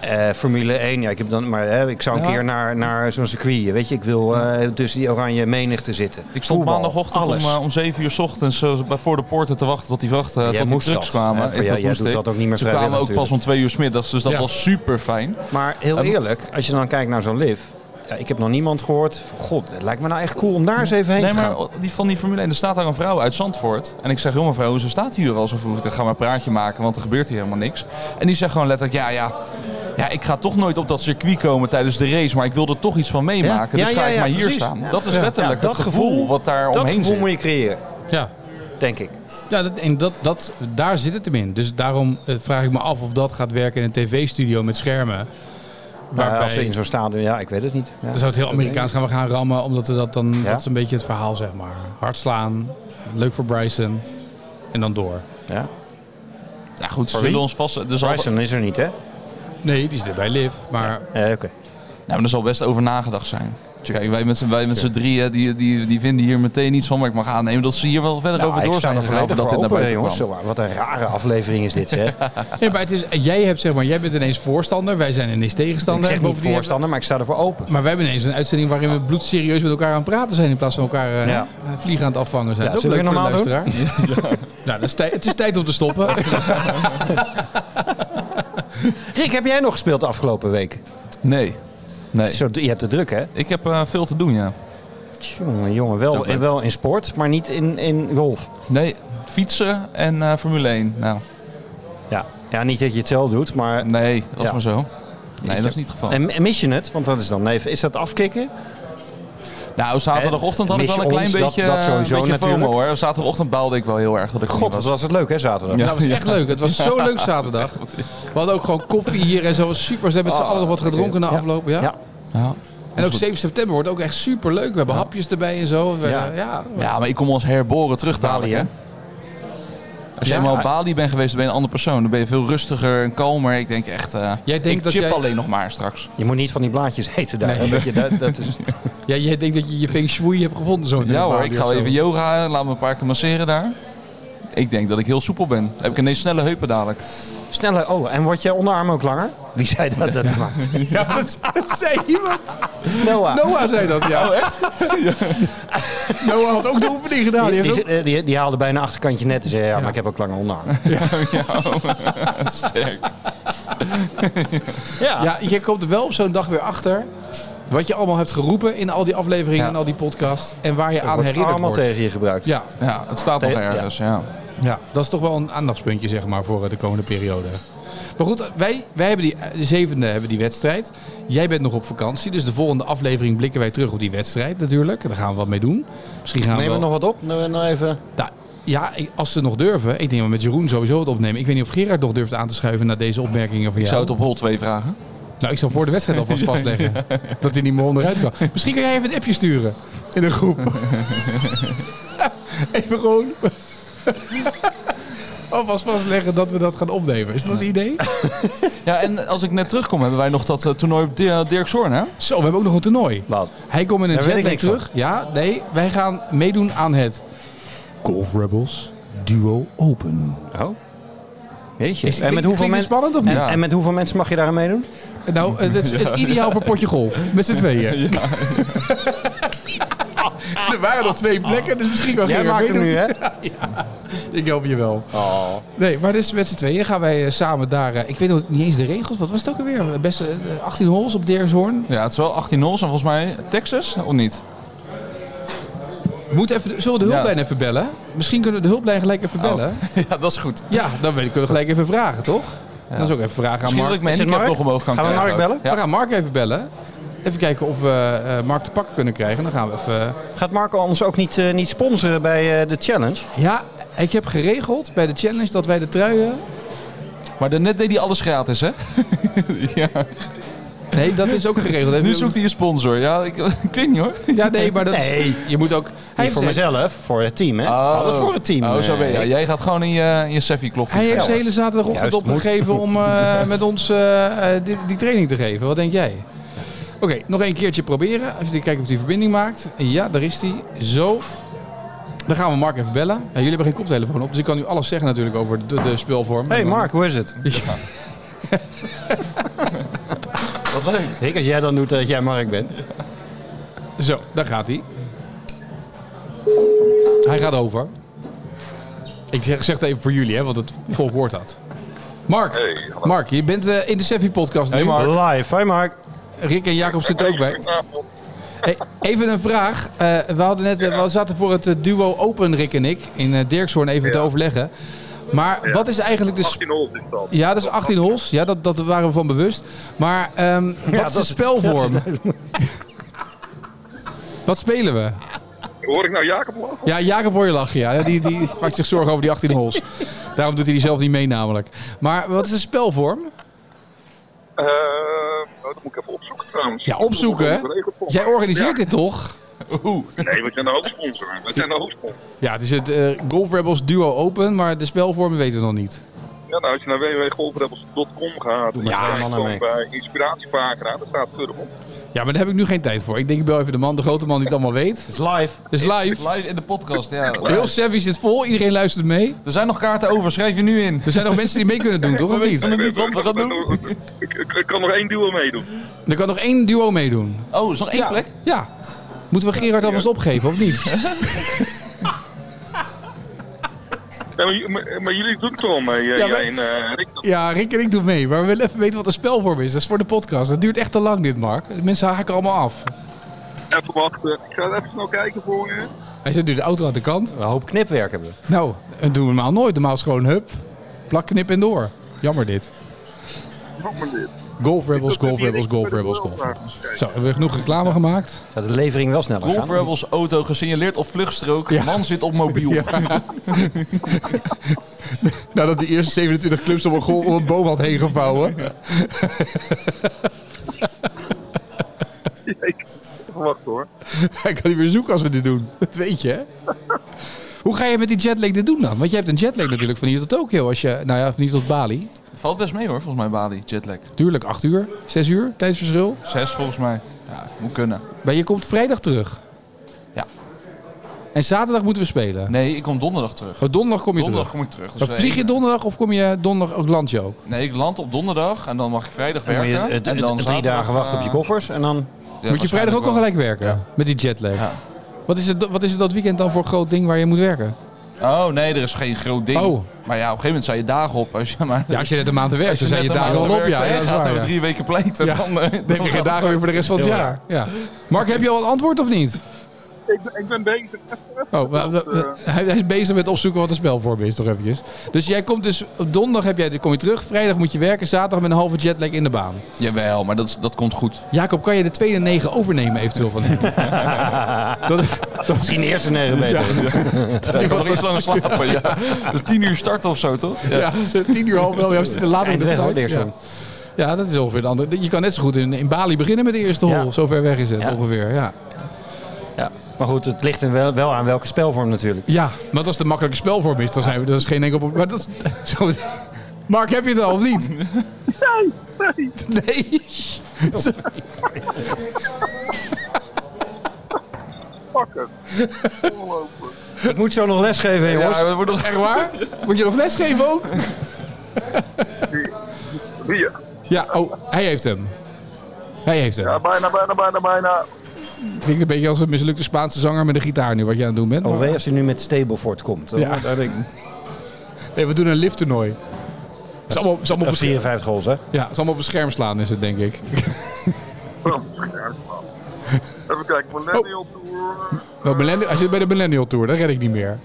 Eh, Formule 1, ja, ik, heb dan, maar, hè, ik zou een Ja. keer naar, naar zo'n circuit, weet je, ik wil eh, tussen die oranje menigte zitten. Ik stond Voetbal, maandagochtend om, alles. eh, om 7 uur 's ochtends eh, bij voor de poorten te wachten tot die vrachten, Jij tot die moest trucks dat, kwamen. hè? Ik- Voor jou- dat jij moest doet ik. dat ook niet meer Ze vrijwillig kwamen ook pas natuurlijk. om twee uur 's middags, dus dat Ja. was super fijn. Maar heel En- eerlijk, als je dan kijkt naar zo'n live, ja, ik heb nog niemand gehoord van god, het lijkt me nou echt cool om daar eens even heen Nee, te gaan. maar die, van die Formule 1, er staat daar een vrouw uit Zandvoort. En ik zeg, joh mevrouw, hoezo staat hier al zo vroeg? Ik zeg, ga maar een praatje maken, want er gebeurt hier helemaal niks. En die zegt gewoon letterlijk, ja, ja, ja, ik ga toch nooit op dat circuit komen tijdens de race, maar ik wil er toch iets van meemaken. Ja, Dus ja, ga ja, ik maar hier precies. staan. Ja. Dat is Ja. letterlijk Ja, dat het gevoel, gevoel- wat daar dat omheen gevoel zit. moet je creëren, Ja. denk ik. Ja, dat, en dat, dat, daar zit het hem in. Dus daarom eh, vraag ik me af of dat gaat werken in een tv-studio met schermen. Maar Waarbij, Nou, Eh, als ze in zo'n stadion, ja, ik weet het niet. Ja. dan zou het heel Amerikaans gaan we gaan rammen, omdat we dat dan, Ja. dat is een beetje het verhaal, zeg maar. Hard slaan, leuk voor Bryson en dan door. Ja. Ja, Nou goed, ze Voor wie? zullen ons vast... Dus al, Bryson is er niet, hè? Nee, die zit er bij Liv, maar Eh, Oké. Nou, maar er zal best over nagedacht zijn. Kijk, wij met z'n, wij met z'n drieën, die, die, die vinden hier meteen iets van. Maar ik mag aannemen dat ze hier wel verder Nou, over ik door sta zijn er gegaan. volledig Dat voor dit naar open, buiten jongens. kwam. Zo, Wat een rare aflevering is dit, zeg. Nee, maar het is, jij, hebt, zeg maar, jij bent ineens voorstander, wij zijn ineens ik tegenstander. zeg niet Bovendien hebben- voorstander, maar ik sta ervoor open. Maar wij hebben ineens een uitzending waarin we bloedserieus met elkaar aan het praten zijn in plaats van elkaar eh, Ja. vliegen aan het afvangen zijn. Ja, dat is ook leuk zullen voor we de normaal luisteraar. nou, dat is tij- het is tijd om te stoppen. Rick, heb jij nog gespeeld de afgelopen week? Nee, nee. Zo, je hebt het druk, hè? Ik heb eh, veel te doen, ja. Jongen, jongen wel, Zo leuk. wel in sport, maar niet in, in golf. Nee, fietsen en eh, Formule 1. Nou, Ja. ja, niet dat je het zelf doet, maar... nee, dat is Ja. maar zo. Nee, dat is niet het geval. En, en mis je het? Want dat is dan even... Is dat afkicken? nou, zaterdagochtend had ik mis wel je een klein ons? Dat- beetje, eh, dat sowieso een beetje FOMO natuurlijk. hoor. Zaterdagochtend baalde ik wel heel erg dat ik er God, niet wat was het leuk hè, zaterdag? Ja. dat was echt leuk. Het was zo leuk zaterdag. We hadden ook gewoon koffie hier en zo. was super. Ze hebben met z'n Oh, allen nog wat gedronken na ja. afloop. Ja. Ja. Ja. En ook 7 september wordt ook echt super leuk. We hebben hapjes erbij en zo. We, Ja. ja. Ja. ja, maar ik kom als herboren terug dadelijk. Bali, hè? Hè? Als je Ja. helemaal op Bali bent geweest, dan ben je een andere persoon. Dan ben je veel rustiger en kalmer. Ik denk echt, eh, Jij denkt ik dat chip jij- alleen nog maar straks. Je moet niet van die blaadjes eten daar. Nee. Weet je, dat, dat is... Ja, jij denkt dat je je feng shui hebt gevonden zo. Ja hoor, ik ga Zo. even yoga, laat me een paar keer masseren daar. Ik denk dat ik heel soepel ben. Dan heb ik ineens snelle heupen dadelijk. Sneller. Oh, en wordt je onderarm ook langer? Wie zei dat dat maakt? Ja, dat, dat zei iemand. Noah. Noah zei dat, ja. echt? Noah had ook de oefening gedaan. Die Die, heeft die, ook... die- die haalde bijna een achterkantje net en zei, ja, maar ik heb ook lange onderarm. Sterk. Ja, je komt er wel op zo'n dag weer achter. Wat je allemaal hebt geroepen in al die afleveringen Ja. en al die podcasts. En waar je Dat aan wordt herinnerd allemaal wordt. tegen je gebruikt. Ja, Ja, het staat nog Ja. ergens, ja. ja, dat is toch wel een aandachtspuntje zeg maar, voor eh, de komende periode. Maar goed, wij, wij hebben die, eh, de zevende hebben die wedstrijd. Jij bent nog op vakantie, dus de volgende aflevering blikken wij terug op die wedstrijd natuurlijk. Daar gaan we wat mee doen. Misschien gaan Nemen we we nog wat op? Nou, nou even. Nou, ja, ik- als ze nog durven. Ik denk dat met Jeroen sowieso het opnemen. Ik weet niet of Gerard nog durft aan te schuiven naar deze opmerkingen van jou. Ik zou het op hol 2 vragen. Nou, ik zou voor de wedstrijd alvast vastleggen. Dat hij niet meer onderuit kan. Misschien kan jij even een appje sturen. In een groep. even gewoon... alvast vastleggen dat we dat gaan opnemen. Is dat een idee? Ja, en als ik net terugkom, hebben wij nog dat eh, toernooi op Di- Dirk Zorn, hè? Zo, we hebben ook nog een toernooi. Wat? Hij komt in een Daar weet ik jetlag niks van. terug. Ja, nee, wij gaan meedoen aan het... Golf Rebels Duo Open. Oh. Jeetje. Is- en, klinkt- met hoeveel klinkt het mensen? spannend of en, niet? en met hoeveel mensen mag je daar aan meedoen? Nou, eh, dat is het ideaal voor potje golf. Met z'n tweeën. er waren nog twee plekken, dus misschien kan Jij Gerard maakt hem nu, meedoen. hè? Ik help je wel. Oh. Nee, maar dus met z'n tweeën gaan wij eh, samen daar... eh, ik weet nog niet eens de regels. Wat was het ook alweer? Best eh, 18 holes op Deershoorn. Ja, het is wel 18 0 en volgens mij Texas, of niet? Moet even, zullen we de Ja. hulplijn even bellen? Misschien kunnen we de hulplijn gelijk even bellen. Oh. Ja, dat is goed. Oh. Ja, dan weet ik, kunnen we gelijk even vragen, toch? Dat is ook even vragen aan Misschien dat Mark. ik mijn Is het handicap Mark? nog omhoog kan Gaan we krijgen. Mark ook. bellen? We gaan Mark even bellen. Even kijken of we eh, Mark te pakken kunnen krijgen. Dan gaan we even... Gaat Marco ons ook niet, eh, niet sponsoren bij eh, de challenge? Ja, ik heb geregeld bij de challenge dat wij de truien Ja. Maar daarnet deed hij alles gratis, hè? ja. Nee, dat is ook geregeld. Nu zoekt hij een sponsor. Ja, ik, ik weet niet hoor. Ja, nee, maar dat is- Nee. je moet ook... Hij Niet heeft, voor zijn- mezelf, voor het team, hè? We hadden voor het team. Oh, zo ben je. eh, Ja, jij gaat gewoon in je, in je seffie kloppen. hij heeft de hele zaterdagochtend Juist, moet. opgegeven om eh, met ons eh, eh, die, die training te geven. Wat denk jij? Oké, nog een keertje proberen. Even kijken of hij verbinding maakt. Ja, daar is hij. Zo. Dan gaan we Mark even bellen. Ja, jullie hebben geen koptelefoon op, dus ik kan nu alles zeggen natuurlijk over de, de speelvorm. Hey Mark, hoe is het? Wat leuk. Ik als jij dan doet dat jij Mark bent. Zo, daar gaat hij. Hij gaat over. Ik zeg, zeg het even voor jullie, hè, want het volk hoort dat. Mark, Hey, hallo. Mark, je bent eh, in de Seffi podcast nu. Hey, Mark. Live, hi Mark. Rick en Jacob zitten er ook bij. Goedenavond. Hey, even een vraag. Eh, we, hadden net, eh, we zaten voor het eh, duo Open, Rick en ik, in eh Dirkshoorn even te overleggen. Maar wat is eigenlijk de... sp- 18 holes is dat. Ja, dat is 18 hols. Ja, dat, dat waren we van bewust. Maar ehm, wat is de dat- spelvorm? wat spelen we? Hoor ik nou Jacob lachen? Ja, Jacob hoor je lachen. Ja. Die, die maakt zich zorgen over die 18 holes. Daarom doet hij die zelf niet mee namelijk. Maar wat is de spelvorm? Eh, nou, dat moet ik even opzoeken trouwens. Ja, opzoeken. hè? Jij organiseert dit toch? dit? Nee, we zijn nou de hoofdsponsor. We zijn nou de hoofdsponsor. Ja, het is het eh, Golf Rebels Duo Open, maar de spelvormen weten we nog niet. Ja, nou, als je naar www.golfrebels.com gaat, maar dan twee sta je mannen dan mee. bij inspiratiepagina, daar staat verder op. Ja, maar daar heb ik nu geen tijd voor. Ik denk ik bel even de man, de grote man die het allemaal weet. Het is live. Het is live. Live in de podcast, ja. Heel Savvy zit vol, iedereen luistert mee. Er zijn nog kaarten over, schrijf je nu in. Er zijn nog mensen die mee kunnen doen, toch? Of niet? Doe niet, Eh, want we gaan doen. Ik, eh, ik- ik kan nog één duel meedoen. Er kan nog één duo meedoen. Oh, is nog één ja. plek? Ja. Moeten we Gerard alvast opgeven, of niet? Ja, maar, j- maar, maar jullie doen het al mee, eh, Ja, jij wij- en eh, Rick. Dat- Ja, Rick en ik doen mee. Maar we willen even weten wat de spelvorm is. Dat is voor de podcast. Dat duurt echt te lang dit, Mark. De mensen haken allemaal af. Even wachten. Ik ga het even snel kijken voor je. Hij zet nu de auto aan de kant. Een hoop knipwerk hebben we. Nou, dat doen we normaal nooit. Normaal is gewoon hup, plak, knip en door. Jammer dit. Nog maar dit. Golf Rebels, Golf Rebels, Golf Rebels, Golf Rebels. Zo, hebben we genoeg reclame gemaakt? Zou de levering wel sneller Golf gaan? Rebels auto gesignaleerd op vluchtstrook. Man zit op mobiel. Nadat die eerste 27 clubs om een, gol- om een boom had heen gevouwen. Even wachten hoor. Hij kan niet meer zoeken als we dit doen. Dat weet je, hè? Hoe ga je met die jetlag dit doen dan? Want je hebt een jetlag natuurlijk van hier tot Tokio. Als je, nou ja, van hier tot Bali. Het valt best mee hoor, volgens mij Bali, jetlag. Tuurlijk, 8 uur, 6 uur, tijdsverschil. Zes volgens mij. Ja, moet kunnen. Maar je komt vrijdag terug. Ja. En zaterdag moeten we spelen. Nee, ik kom donderdag terug. Oh, donderdag kom je terug. Donderdag kom ik terug. Dus Maar vlieg je één- donderdag of kom je donderdag ook land je ook? Nee, ik land op donderdag en dan mag ik vrijdag Dan moet werken. je eh, en dan drie zaterdag, dagen wachten op je eh, koffers en dan... ja, moet je vrijdag waarschijnlijk ook al wel. gelijk werken met die jetlag? Ja. Wat, is het, wat is het dat weekend dan voor groot ding waar je moet werken? Oh nee, er is geen groot ding. Oh. Maar ja, op een gegeven moment zijn je dagen op. Als je maar... Ja, als je net een maand te werken, dan zijn je net een dagen maand al op. werkt Ja, en dat is gaat waar. over ja. drie weken pleiten. Ja. Dan, eh, Dan heb dan je geen gaat dagen het meer voor de rest van het Heel jaar. Ja. Mark, heb je al een antwoord of niet? Ik ben, ik ben bezig. Oh, maar- maar- maar- hij hij is bezig met opzoeken wat de spelvorm is, toch eventjes. Dus jij komt dus, op donderdag heb jij, kom je terug, vrijdag moet je werken, zaterdag met een halve jetlag in de baan. Jawel, maar dat, is- dat komt goed. Jacob, kan je de tweede negen overnemen eventueel van hem? dat, Misschien de eerste negen beter. Ik kan nog iets langer slapen. Ja. Dat is tien uur starten of zo, toch? Ja. Ja, ze- tien uur half wel. Ja, we zitten later in de Eindweg tijd. ook weer ja. zo. ja, dat is ongeveer de andere. Je kan net zo goed in, in Bali beginnen met de eerste hol. Ja. Zo ver weg is het Ja. ongeveer. Ja. Ja. Maar goed, het ligt er wel, wel aan welke spelvorm natuurlijk. ja, want als het een makkelijke spelvorm is, dan zijn we, dat is geen enkel probleem. Maar dat is, zo, Mark, heb je het al of niet? Nee. Nee. Fuck het. Ongelooflijk. Ik moet zo nog lesgeven, jongens. Ja, we worden nog echt waar. Moet je nog lesgeven ook? Hier. Hier. Ja, oh, hij heeft hem. Hij heeft hem. Ja, bijna, bijna, bijna, bijna. Ik denk een beetje als een mislukte Spaanse zanger met een gitaar nu wat je aan het doen bent. maar- Alweer als hij nu met Stableford komt. Ja. Ja. Nee, we doen een lifttoernooi. Het is allemaal, het is allemaal Dat op is een scherm- 54 goals, hè? ja, het is allemaal op een scherm slaan is het, denk ik. Oh, ja, man. Even kijken. Millennial Tour. Wel, millenni- hij zit bij de Oh, Millennial Tour, dat red ik niet meer.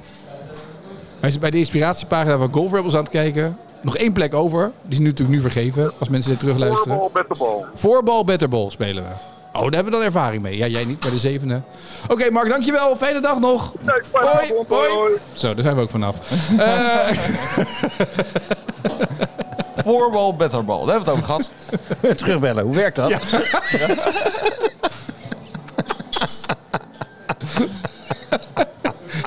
Hij zit bij de inspiratiepagina van Golf Rebels aan het kijken. Nog één plek over. Die is nu natuurlijk nu vergeven, als mensen dit terugluisteren. Voorbal met de bal. Voorbal, betterbal spelen we. Oh, daar hebben we dan ervaring mee. Ja, jij niet, maar de zevende. Oké, Mark, dankjewel. Fijne dag nog. Nee, fijne Hoi, avond, hoi. hoi, hoi. Zo, daar zijn we ook vanaf. Eh, Voorbal, betterbal. Daar hebben we het over gehad. Terugbellen, hoe werkt dat?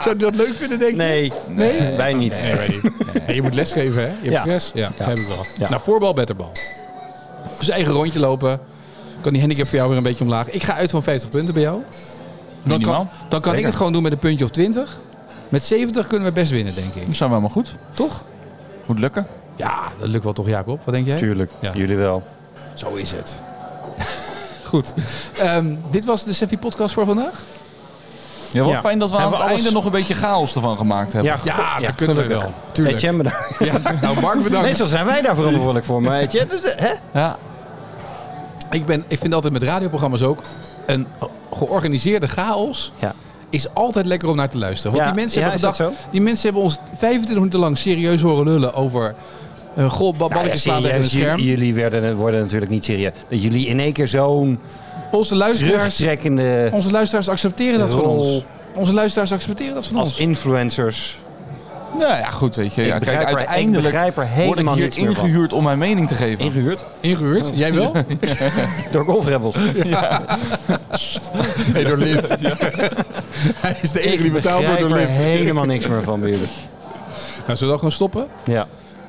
zou je dat leuk vinden, denk je? Nee, Nee? wij niet. Nee, weet niet. Nee, je moet lesgeven, hè? Je hebt Ja. stress. Ja, dat heb ik wel. Ja. Nou, voorbal, betterbal. Dus eigen rondje lopen. Kan die handicap voor jou weer een beetje omlaag. Ik ga uit van 50 punten bij jou. Dan kan, Minimaal. dan kan ik Zeker. het gewoon doen met een puntje of 20. Met 70 kunnen we best winnen, denk ik. Dan zijn we helemaal goed. Toch? Moet lukken. Ja, dat lukt wel toch, Jacob? Wat denk jij? Tuurlijk, Ja. jullie wel. Zo is het. Goed. Ehm, dit was de Seffi podcast voor vandaag. Ja, wat Ja. fijn dat we aan Hebben het we alles- einde nog een beetje chaos ervan gemaakt hebben. Ja, Ja, dat kunnen we wel. Tuurlijk. Tuurlijk. Etienne, bedankt. Ja, nou, Mark, bedankt. Meestal zijn wij daar verantwoordelijk voor, maar Etienne, dus, hè? Ja. Ik, ben, ik vind altijd met radioprogramma's ook... een georganiseerde chaos Ja. is altijd lekker om naar te luisteren. Want Ja, die mensen ja, hebben is dat gedacht... Die mensen hebben ons 25 minuten lang serieus horen lullen over... eh goh, ba- balletjes slaan tegen een Nou serieus, scherm. jullie- Jullie werden, worden natuurlijk niet serieus. Dat jullie in één keer zo'n Onze luisteraars, terugtrekkende... onze luisteraars accepteren dat van Rol. ons. Onze luisteraars accepteren dat van Als ons. influencers. Nou ja, goed, weet je. Ja, kijk, begrijp er- ik uiteindelijk begrijp er word ik helemaal hier niks meer van. ingehuurd om mijn mening te geven. Ingehuurd? Ingehuurd? Jij wel? Door golfrebels. Nee, door Liv. Hij is de enige die Ik betaald wordt begrijp door er Liv. helemaal niks meer van bij jullie. Nou, zullen we dan gewoon stoppen? Ja,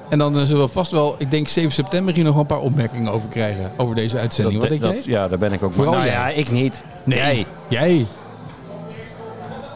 En dan eh, zullen we vast wel, ik denk 7 september, hier nog wel een paar opmerkingen over krijgen. Over deze uitzending. Wat denk dat, jij? ja, daar ben ik ook Vooral nou jij. ja, ik niet. Nee. Jij.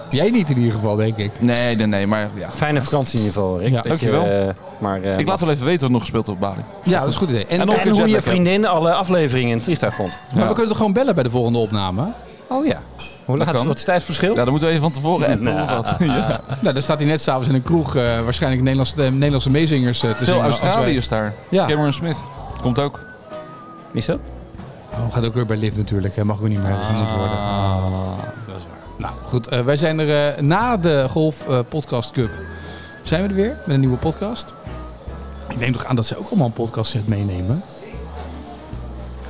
Jij niet in ieder geval, denk ik. Nee, nee, nee. Maar ja. Fijne vakantie in ieder geval, Rick. Ja, Dat je, dankjewel. eh, maar, eh, Ik laat wel even weten wat er nog gespeeld wordt op Bali. Ja, dat is een goed idee. En, En nog en- een en hoe je jetlag hebt. vriendin alle afleveringen in het vliegtuig vond. maar we kunnen toch gewoon bellen bij de volgende opname? Oh ja. Hoe laat? kan. Wat is het tijdsverschil? Ja, dan moeten we even van tevoren appen. of wat. Ja. Nou, daar staat hij net s'avonds in een kroeg. eh, waarschijnlijk Nederlandse, eh, Nederlandse meezingers eh, te Veel zingen. als wij- Australiërs daar. Ja. Cameron Smith. Komt ook. Wie is dat? Ah, Oh, gaat ook weer bij Liv natuurlijk. Hij mag ook niet meer genoemd worden. Nou goed, eh, wij zijn er eh, na de Golf eh, Podcast Cup. Zijn we er weer met een nieuwe podcast? Ik neem toch aan dat ze ook allemaal een podcast set meenemen.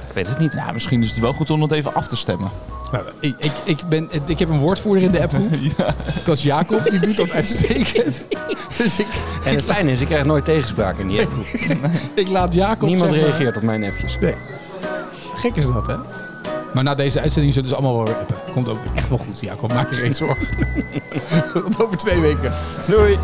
Ik weet het niet. Ja, misschien is het wel goed om het even af te stemmen. Nou, ik, ik, ik, ben, ik heb een woordvoerder in de appgroep. Dat is Jacob, die doet dat uitstekend. Dus ik, En het fijne is, ik krijg nooit tegenspraak in die appgroep. ik laat Jacob Niemand zeg maar- reageert op mijn appjes. Gek is dat, hè? Maar na deze uitzending zullen ze allemaal wel weer appen. Komt ook echt wel goed, Jacob. Maak je geen zorgen. Tot over twee weken. Doei!